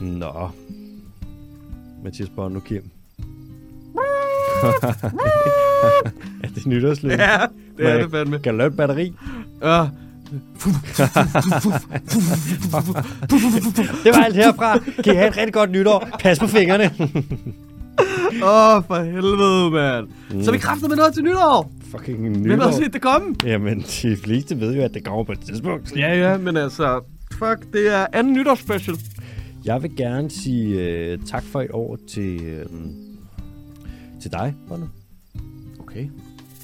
Nå. Mathias Bond og Kim. er det nytårslyd? Ja, det er det fandme. Kan du lave et batteri? Ja. Det var alt herfra. Kan I have et rigtig godt nytår. Pas på fingrene. Åh, for helvede, mand. Så er vi kræfter med noget til nytår. Fucking Hvem har set nytår. det komme? Jamen, de fleste ved jo, at det kommer på et tidspunkt. Ja, ja, men altså... Fuck, det er anden nytårsspecial. Jeg vil gerne sige øh, tak for et år til, øh, til dig, Bono. Okay.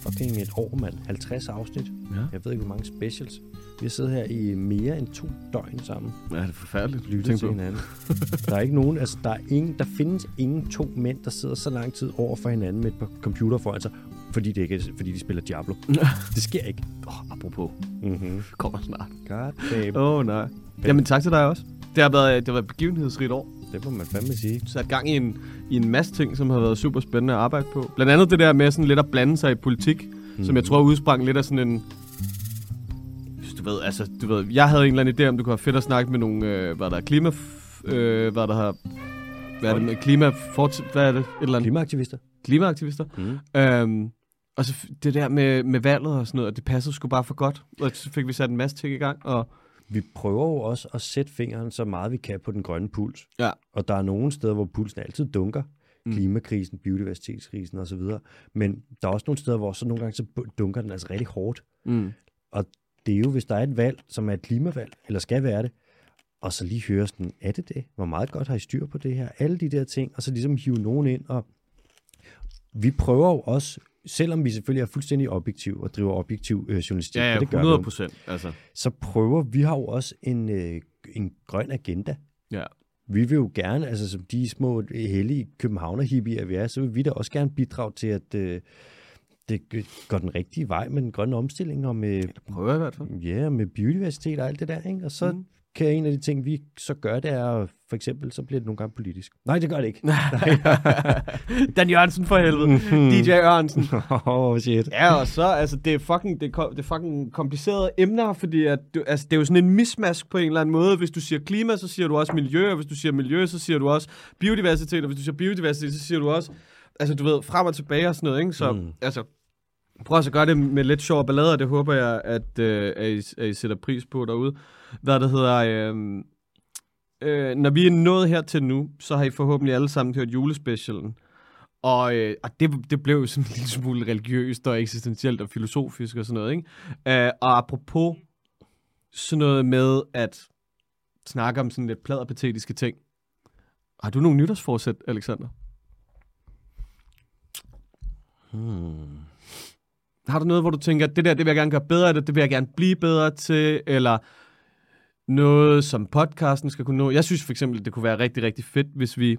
Fucking et år, mand. 50 afsnit. Ja. Jeg ved ikke, hvor mange specials. Vi har siddet her i mere end to døgn sammen. Ja, det er forfærdeligt. Lyttet til hinanden. der er ikke nogen, altså der, er ingen, der findes ingen to mænd, der sidder så lang tid over for hinanden med et par computer for, altså fordi, det ikke, er- fordi de spiller Diablo. det sker ikke. Oh, apropos. Mm-hmm. Kommer snart. God damn. Åh, oh, nej. Jamen, tak til dig også. Det har været, det har været et begivenhedsrigt år. Det må man fandme sige. sat gang i en, i en masse ting, som har været super spændende at arbejde på. Blandt andet det der med sådan lidt at blande sig i politik, mm. Mhm. som jeg tror udsprang lidt af sådan en... Du ved, altså, du ved, jeg havde en eller anden idé om, det kunne være fedt at snakke med nogle, øh, hvad der er, klima... Øh, hvad der har... Hvad er det med klima... Fort, hvad er det? Et eller andet? Klimaaktivister. Klimaaktivister. Mhm. Mm. Øhm, og så f- det der med, med valget og sådan noget, og det passede sgu bare for godt. Og så fik vi sat en masse ting i gang, og... Vi prøver jo også at sætte fingeren så meget vi kan på den grønne puls. Ja. Og der er nogle steder, hvor pulsen altid dunker. Mm. Klimakrisen, biodiversitetskrisen osv. Men der er også nogle steder, hvor så nogle gange så dunker den altså rigtig hårdt. Mm. Og det er jo, hvis der er et valg, som er et klimavalg, eller skal være det, og så lige høre sådan, er det det? Hvor meget godt har I styr på det her? Alle de der ting, og så ligesom hive nogen ind. Og vi prøver jo også, selvom vi selvfølgelig er fuldstændig objektiv og driver objektiv øh, journalistik, Ja, ja, og det gør 100 vi jo, procent, altså. så prøver vi har jo også en, øh, en grøn agenda. Ja. Vi vil jo gerne, altså som de små hellige københavner-hippier vi er, så vil vi da også gerne bidrage til, at øh, det g- går den rigtige vej med den grønne omstilling og med Prøver i hvert fald. Ja, med biodiversitet og alt det der, ikke? Og så mm. kan en af de ting, vi så gør, det er, for eksempel, så bliver det nogle gange politisk. Nej, det gør det ikke. Dan Jørgensen for helvede. Mm. DJ Jørgensen. Åh, oh, shit. Ja, og så, altså, det er fucking, det er, kom- det er fucking komplicerede emner, fordi at, du, altså, det er jo sådan en mismask på en eller anden måde. Hvis du siger klima, så siger du også miljø, og hvis du siger miljø, så siger du også biodiversitet, og hvis du siger biodiversitet, så siger du også, altså, du ved, frem og tilbage og sådan noget, ikke? Så, mm. altså, prøv også at gøre det med lidt sjov ballade, og det håber jeg, at, øh, at, I, at I sætter pris på derude. Hvad det hedder, øh, øh, når vi er nået her til nu, så har I forhåbentlig alle sammen hørt julespecialen. Og, øh, og det, det blev jo sådan en lille smule religiøst og eksistentielt og filosofisk og sådan noget, ikke? Øh, og apropos sådan noget med at snakke om sådan lidt pladerpatetiske ting. Har du nogle nytårsforsæt, Alexander? Hmm. Har du noget, hvor du tænker, det der, det vil jeg gerne gøre bedre, eller det vil jeg gerne blive bedre til, eller noget, som podcasten skal kunne nå? Jeg synes for eksempel, det kunne være rigtig, rigtig fedt, hvis vi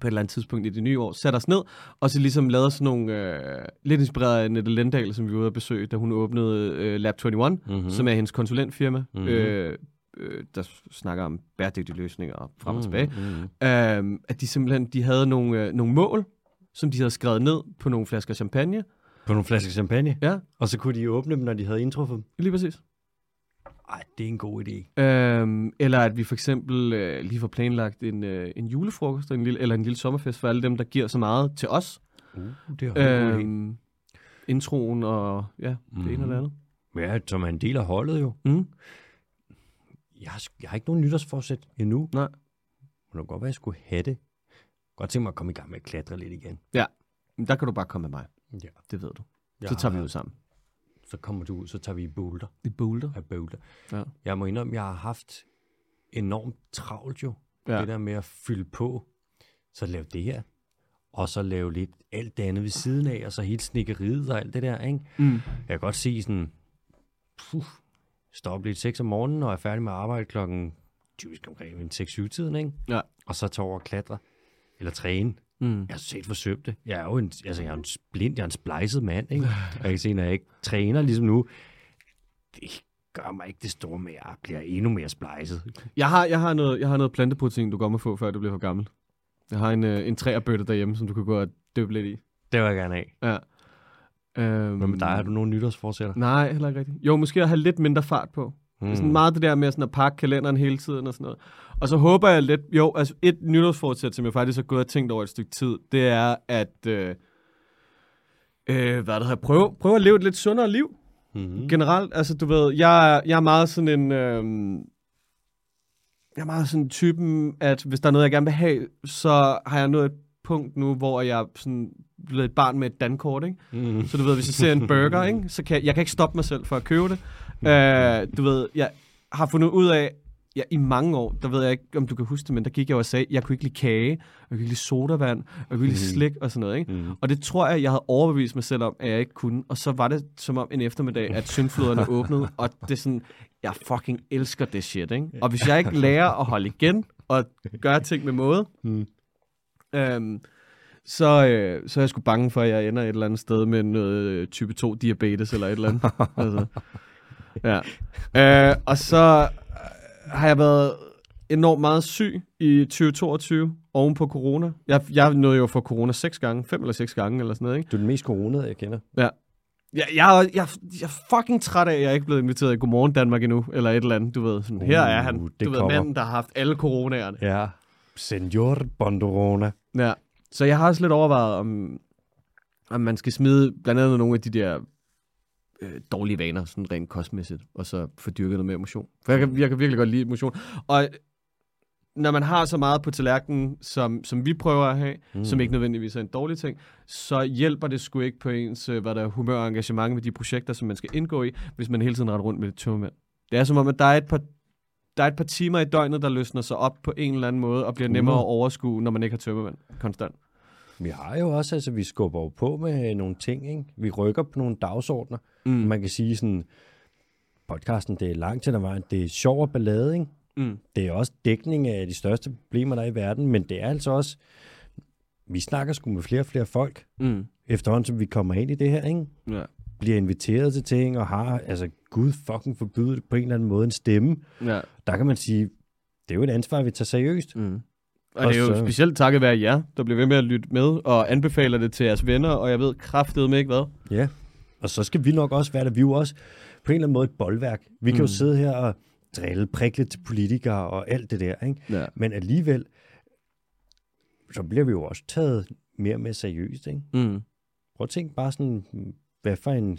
på et eller andet tidspunkt i det nye år, satte os ned, og så ligesom lavede sådan nogle, øh, lidt inspireret af Nette Lendahl, som vi var ude at besøge, da hun åbnede øh, Lab 21, mm-hmm. som er hendes konsulentfirma, mm-hmm. øh, øh, der s- snakker om bæredygtige løsninger og Mm. Mhm. frem og tilbage, mm-hmm. øh, at de simpelthen de havde nogle, øh, nogle mål, som de havde skrevet ned på nogle flasker champagne. På nogle flasker champagne. Ja, Og så kunne de åbne dem, når de havde indtruffet dem. lige præcis. Ej, det er en god idé. Øhm, eller at vi for eksempel øh, lige får planlagt en, øh, en julefrokost en lille, eller en lille sommerfest for alle dem, der giver så meget til os. Uh, det er øh, øhm, introen og ja, det mm. Mm-hmm. ene og det andet. Ja, som er en del af holdet jo. Mm. Jeg har, sk- jeg har ikke nogen nytårsforsæt endnu. Nej. Men det kunne godt være, at jeg skulle have det. Godt tænke mig at komme i gang med at klatre lidt igen. Ja, men der kan du bare komme med mig. Ja. Det ved du. Jeg Så tager vi har- ud sammen. Så kommer du ud, så tager vi i boulder. I Boulder. af bøvler. Ja. Jeg må indrømme, jeg har haft enormt travlt jo. Ja. Ja. Det der med at fylde på, så lave det her, og så lave lidt alt det andet ved siden af, og så hele snikkeriet og alt det der, ikke? Mm. Jeg kan godt se sådan, puh, stop lidt 6 om morgenen, og er færdig med at arbejde klokken typisk omkring en 6-7-tiden, ikke? Ja. Og så tage over og klatre, eller træne. Mm. Jeg har set forsøgt det. Jeg er jo en, altså, jeg er en splint, jeg er en splejset mand, ikke? Og jeg kan se, når jeg ikke træner ligesom nu, det gør mig ikke det store med, at jeg bliver endnu mere splejset. Jeg har, jeg, har noget, jeg har noget planteprotein, du godt må få, før det bliver for gammelt. Jeg har en, øh, en træerbøtte derhjemme, som du kan gå og døbe lidt i. Øhm, Det vil jeg gerne af. Ja. Øhm, Hvad med dig? Har du nogen nytårsforsætter? Nej, heller ikke rigtigt. Jo, måske at have lidt mindre fart på. Mm. Det er sådan meget det der med sådan at pakke kalenderen hele tiden og sådan noget. Og så håber jeg lidt, jo, altså et nytårsfortsæt, som jeg faktisk har gået og tænkt over et stykke tid, det er at, øh, øh, hvad det her, prøve, prøve at leve et lidt sundere liv. Mm-hmm. Generelt, altså du ved, jeg, er- jeg er meget sådan en... Øh, jeg er meget sådan typen, at hvis der er noget, jeg gerne vil have, så har jeg nået et punkt nu, hvor jeg er sådan blevet et barn med et dankort, ikke? Mm-hmm. Så du ved, hvis jeg ser en burger, ikke? så kan jeg, jeg kan ikke stoppe mig selv for at købe det. Øh, du ved, jeg har fundet ud af, ja, i mange år, der ved jeg ikke, om du kan huske det, men der gik jeg jo og sagde, jeg kunne ikke lide kage, jeg kunne ikke lide sodavand, jeg kunne ikke lide slik og sådan noget. Ikke? Mm. Og det tror jeg, jeg havde overbevist mig selv om, at jeg ikke kunne. Og så var det som om en eftermiddag, at syndfloderne åbnede, og det er sådan, jeg fucking elsker det shit, ikke? Og hvis jeg ikke lærer at holde igen, og gøre ting med måde, Mm. øhm, så, øh, så er jeg sgu bange for, at jeg ender et eller andet sted med noget øh, type 2 diabetes eller et eller andet. altså. ja. øh, og så øh, har jeg været enormt meget syg i 2022 oven på corona. Jeg, jeg nåede jo for corona seks gange, fem eller seks gange eller sådan noget, ikke? Du er den mest coronede, jeg kender. Jeg, jeg, er- jeg, jeg er fucking træt af, at jeg ikke er blevet inviteret i Godmorgen Danmark endnu, eller et eller andet, du ved. Sådan, her er han, Uh, du det ved, kommer. manden, der har haft alle coronaerne. Ja. Senor Bondorona. Ja. Så jeg har også lidt overvejet, om, om man skal smide blandt andet nogle af de der øh, dårlige vaner, sådan rent kostmæssigt, og så få dyrket noget mere motion. For jeg kan, jeg kan virkelig godt lide motion. Og øh, når man har så meget på tallerkenen, som, som vi prøver at have, mm. som ikke nødvendigvis er en dårlig ting, så hjælper det sgu ikke på ens øh, hvad der er, humør og engagement med de projekter, som man skal indgå i, hvis man hele tiden render rundt med det tømmermænd. Det er som om, at der er et par der er et par timer i døgnet, der løsner sig op på en eller anden måde, og bliver nemmere at overskue, når man ikke har tømmermænd konstant. Vi har jo også, altså vi skubber jo på med nogle ting, ikke? Vi rykker på nogle dagsordner. Mm. Man kan sige sådan, podcasten, det er langt til der vejen. Det er sjov og ballade, ikke? Mm. Det er også dækning af de største problemer, der er i verden, men det er altså også, vi snakker sgu med flere og flere folk, Mm. efterhånden som vi kommer ind i det her, ikke? Ja. bliver inviteret til ting og har, altså gud fucking forbyde det på en eller anden måde en stemme, ja. der kan man sige, det er jo et ansvar, vi tager seriøst. Mm. Og, Og det er jo så- specielt takket være jer, der bliver ved med at lytte med, og anbefaler det til jeres venner, og jeg ved kraftedeme ikke hvad. Ja. Og så skal vi nok også være der. Vi er jo også på en eller anden måde et boldværk. Vi kan mm. jo sidde her og drille, prikle til politikere og alt det der, ikke? Ja. Men alligevel, så bliver vi jo også taget mere og mere seriøst, ikke? Mm. Prøv at tænke bare sådan, hvad for en...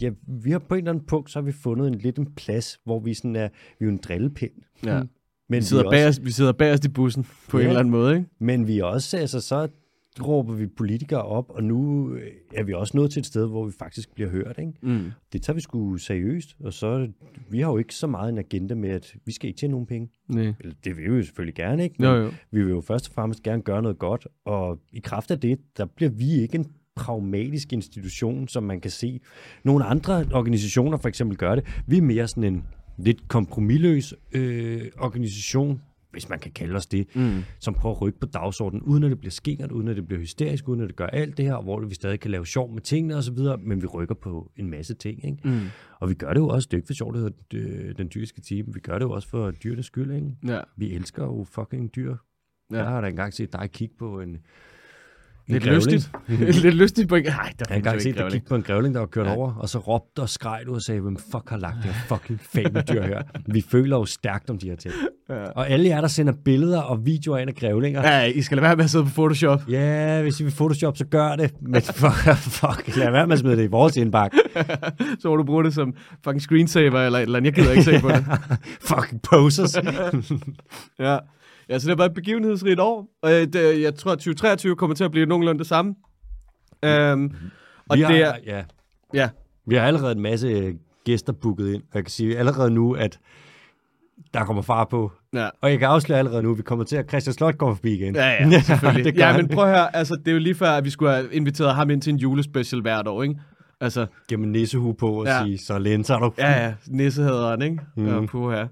Ja, vi har på en eller anden punkt, så har vi fundet en lidt en plads, hvor vi sådan er, vi er jo en drillepind. Ja. Men vi, Mm. Vi, sidder er også, bagerst, vi sidder bagerst i bussen på Ja. en eller anden måde, ikke? men vi er også, altså så råber vi politikere op, og nu øh, er vi også nået til et sted, hvor vi faktisk bliver hørt, ikke? Mm. Det tager vi sgu seriøst, og så, vi har jo ikke så meget en agenda med, at vi skal ikke tjene nogen penge. Nej. Eller, det vil vi jo selvfølgelig gerne, ikke? Men Jo, jo. vi vil jo først og fremmest gerne gøre noget godt, og i kraft af det, der bliver vi ikke en pragmatisk institution, som man kan se. Nogle andre organisationer for eksempel gør det. Vi er mere sådan en lidt kompromilløs øh, organisation, hvis man kan kalde os det, mm. som prøver at rykke på dagsordenen, uden at det bliver skingert, uden at det bliver hysterisk, uden at det gør alt det her, og hvor vi stadig kan lave sjov med tingene osv., men vi rykker på en masse ting. Ikke? Mm. Og vi gør det jo også, det er jo ikke for sjovt, det hedder øh, den dyriske time, vi gør det jo også for dyrenes skyld. Ikke? Ja. Vi elsker jo fucking dyr. Ja. Ja. Jeg har da engang set dig kigge på en, en Lidt grævling. lystigt. Lidt lystigt på en... Ej, der Jeg har findes jo engang set ikke dig grævling. kigge på en grævling, der var kørt ja. over, og så råbte og skreg du og sagde, hvem fuck har lagt det her fucking fabeldyr her? Vi føler jo stærkt om de her ting. Ja. Og alle jer, der sender billeder og videoer ind af grævlinger, ja. Ja, I skal lade være med at sidde på Photoshop. ja, hvis I vil Photoshop, så gør det. Men fuck, fuck lad være med at smide det i vores indbakke. Så må du bruge det som fucking screensaver eller et eller andet. Jeg gider ikke se på det. fucking posers. Ja. Ja, så det har været et begivenhedsrigt år. Og øh, det, jeg tror, at 2023 kommer til at blive nogenlunde det samme. Øhm, og Vi det er... har, ja, Ja, Vi har allerede en masse øh, gæster booket ind, og jeg kan sige allerede nu, at der kommer far på. ja. Og jeg kan afsløre allerede nu, at vi kommer til at Christian Slot kommer forbi igen. Ja, ja, selvfølgelig. det det gør ja, han. men prøv at høre, altså, det er jo lige før, at vi skulle have inviteret ham ind til en julespecial hvert år, ikke? Altså, Gennem nissehue på og ja. Ja. sige, så lænser du. ja, ja, nisse hedder han, ikke? Mm. Mhm. Ja, puha.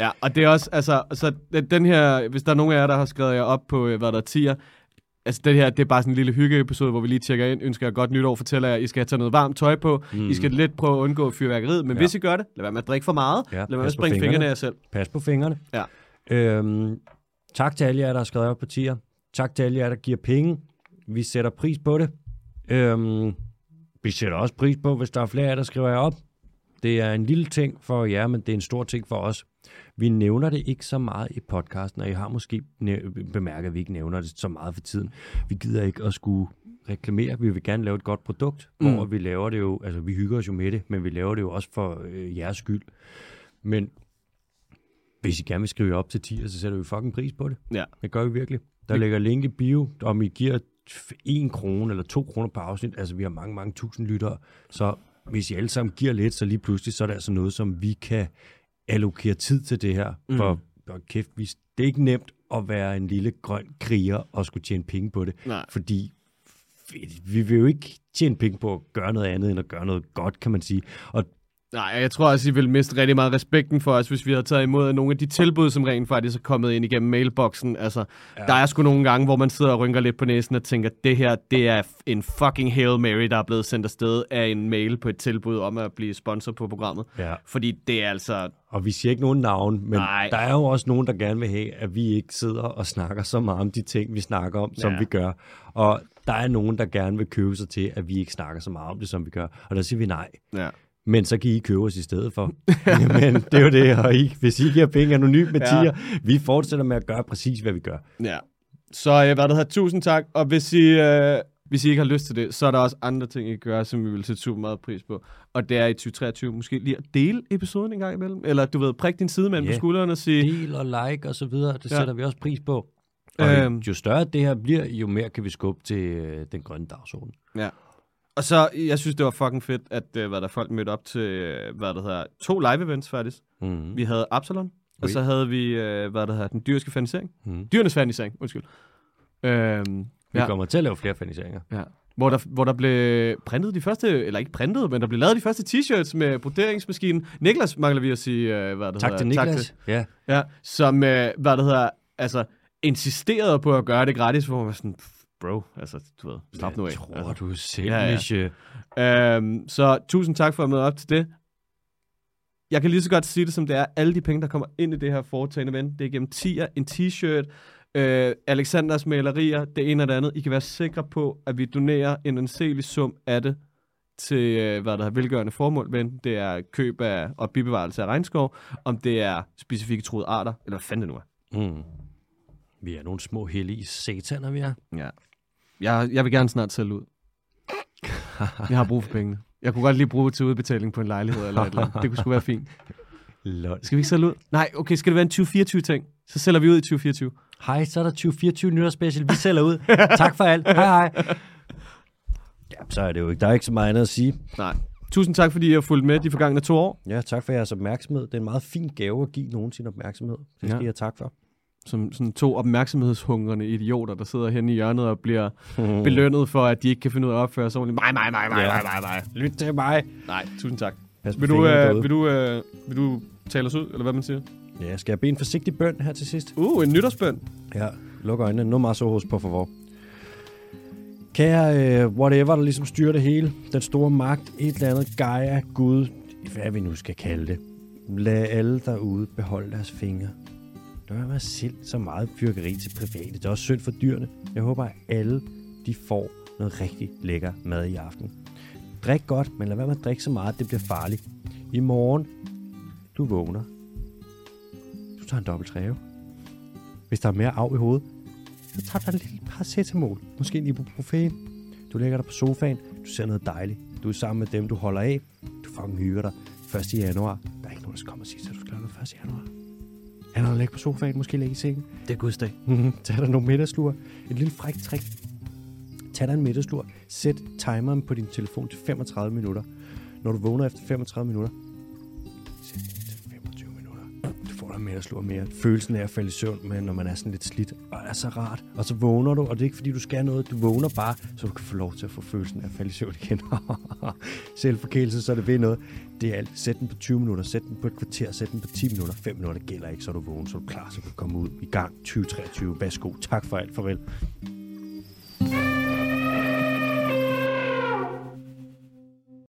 Ja, og det er også, altså, så den- den her, hvis der er nogen af jer, der har skrevet jer op på, øh, hvad der er 10'er, altså det her, det er bare sådan en lille hyggeepisode, hvor vi lige tjekker ind, ønsker jer godt nytår, fortæller jer, I skal have taget noget varmt tøj på, mm. Mhm. I skal lidt prøve at undgå fyrværkeriet, men ja. hvis I gør det, lad være med at drikke for meget, Ja, ja, lad være med at pas på springe fingrene. fingrene af jer selv. Pas på fingrene. Ja. Øhm, tak til alle jer, der har skrevet op på tier. Tak til alle jer, der giver penge. Vi sætter pris på det. Øhm, vi sætter også pris på, hvis der er flere af jer, der skriver jer op. Det er en lille ting for jer, men det er en stor ting for os. Vi nævner det ikke så meget i podcasten, og I har måske næ- bemærket, at vi ikke nævner det så meget for tiden. Vi gider ikke at skulle reklamere. Vi vil gerne lave et godt produkt, mm. hvor vi laver det jo, altså vi hygger os jo med det, men vi laver det jo også for øh, jeres skyld. Men hvis I gerne vil skrive jer op til 10, så sætter vi fucking pris på det. Ja. Det gør vi virkelig. Der ligger link i bio, om I giver 1 krone eller 2 kroner per afsnit. Altså, vi har mange, mange tusind lyttere. Så hvis I alle sammen giver lidt, så lige pludselig, så er det altså noget, som vi kan allokere tid til det her. Mm. For, for kæft, vi, det er ikke nemt at være en lille grøn kriger og skulle tjene penge på det. Nej. Fordi vi- vi vil jo ikke tjene penge på at gøre noget andet, end at gøre noget godt, kan man sige. Og Nej, jeg tror også, I ville miste rigtig meget respekten for os, hvis vi havde taget imod nogle af de tilbud, som rent faktisk er kommet ind igennem mailboksen. Altså, ja. der er sgu nogle gange, hvor man sidder og rynker lidt på næsen og tænker, det her, det er f- en fucking Hail Mary, der er blevet sendt afsted af en mail på et tilbud om at blive sponsor på programmet. Ja. Fordi det er altså... Og vi siger ikke nogen navn, men Nej. Nej. der er jo også nogen, der gerne vil have, at vi ikke sidder og snakker så meget om de ting, vi snakker om, som Ja. ja. vi gør. Og der er nogen, der gerne vil købe sig til, at vi ikke snakker så meget om det, som vi gør. Og der siger vi nej. Ja. Men så kan I købe os i stedet for. Jamen, det er jo det. Og I, hvis I giver penge anonymt med Ja. tiger, vi fortsætter med at gøre præcis, hvad vi gør. ja. Så øh, hvad det hedder, tusind tak. Og hvis I, øh, hvis I ikke har lyst til det, så er der også andre ting, I kan gøre, som vi vil sætte super meget pris på. Og det er i 2023 måske lige at dele episoden en gang imellem. Eller du ved, prik din sidemand yeah. på Ja. skulderen og sige, Del og like og så videre, det Ja. ja. sætter vi også pris på. Og Øhm. øhm. jo større det her bliver, jo mere kan vi skubbe til øh, den grønne dagsorden. Ja. Og så, jeg synes, det var fucking fedt, at øh, hvad der folk mødte op til, øh, hvad det hedder, to live-events faktisk. Mm-hmm. Vi havde Absalon, og Oui. så havde vi, øh, hvad det hedder, den dyrske fanisering. Mhm. Dyrenes fanisering, undskyld. Øhm, Vi Ja. kommer til at lave flere faniseringer. ja. Hvor der, hvor der blev printet de første, eller ikke printet, men der blev lavet de første t-shirts med broderingsmaskinen. Niklas mangler vi at sige, øh, hvad det Tak hedder. til Niklas. Ja. Ja, som, øh, hvad det hedder, altså insisterede på at gøre det gratis, hvor man var sådan, bro, altså, du ved, slap nu af. Jeg tror, altså. du er Ja, ja. selvish. Ja, ja. Øhm, så tusind tak for at møde op til det. Jeg kan lige så godt sige det, som det er. Alle de penge, der kommer ind i det her foretagende ven, det er gennem tier, en t-shirt, øh, Alexanders malerier, det ene og det andet. I kan være sikre på, at vi donerer en anselig sum af det til, øh, hvad der er velgørende formål, men det er køb af og bibevarelse af regnskov, om det er specifikke troede arter, eller hvad fanden det nu er. Mm. Vi er nogle små hellige sataner, vi er. Ja. Jeg, jeg vil gerne snart sælge ud. Jeg har brug for pengene. Jeg kunne godt lige bruge det til udbetaling på en lejlighed eller et eller andet. Det kunne sgu være fint. Lol. Skal vi ikke sælge ud? Nej, okay, skal det være en 2024-ting? Så sælger vi ud i 2024. Hej, så er der 2024 nytårsspecial. Vi sælger ud. tak for alt. Hej, hej. Ja, så er det jo ikke. Der er ikke så meget andet at sige. Nej. Tusind tak, fordi I har fulgt med de forgangne to år, Ja, tak for jeres opmærksomhed. Det er en meget fin gave at give nogen sin opmærksomhed. Det skal Ja. ja. jeg tak for. som sådan to opmærksomhedshungrende idioter, der sidder henne i hjørnet og bliver belønnet for, at de ikke kan finde ud af at opføre sig ordentligt. Nej, nej, nej, nej, nej, nej, nej. Lyt til mig. Nej, tusind tak. Pas på Vil du, fingrene øh, derude. vil, du, øh, vil du tale os ud, eller hvad man siger? Ja, skal jeg bede en forsigtig bøn her til sidst? Uh, en nytårsbøn. Ja, luk øjnene. Nu meget så hos på favor. Kære øh, whatever, der ligesom styrer det hele, den store magt, et eller andet, Gaia, Gud, hvad vi nu skal kalde det. Lad alle derude beholde deres fingre. Der er mig selv så meget fyrkeri til private. Det er også synd for dyrene. Jeg håber, at alle de får noget rigtig lækker mad i aften. Drik godt, men lad være med at drikke så meget, det bliver farligt. I morgen, du vågner. Du tager en dobbelt træve. Hvis der er mere af i hovedet, så tager du en lille paracetamol. Måske en ibuprofen. Du lægger dig på sofaen. Du ser noget dejligt. Du er sammen med dem, du holder af. Du fucking hygger dig. 1. januar. Der er ikke nogen, der kommer og siger, at du skal lave noget 1. januar. Andet end at ligge på sofaen, måske ligge i sengen. Mhm. Det er gudsdag. Tag dig nogle middagslur. Et lille frækt trick. Tag dig en middagslur. Sæt timeren på din telefon til 35 minutter. Når du vågner efter 35 minutter, sæt den til 25 minutter. Du får dig en middagslur mere. Følelsen af at falde i søvn, men når man er sådan lidt slidt, og det er så rart. Og så vågner du, og det er ikke fordi, du skal noget. Du vågner bare, så du kan få lov til at få følelsen af at falde i søvn igen. Selvforkælelse, så er det ved noget. Det er alt. Sæt den på 20 minutter, sæt den på et kvarter, sæt den på 10 minutter. 5 minutter gælder ikke, så er du vågen, så er du klar, så du kan komme ud i gang. 2023, værsgo. Tak for alt, farvel.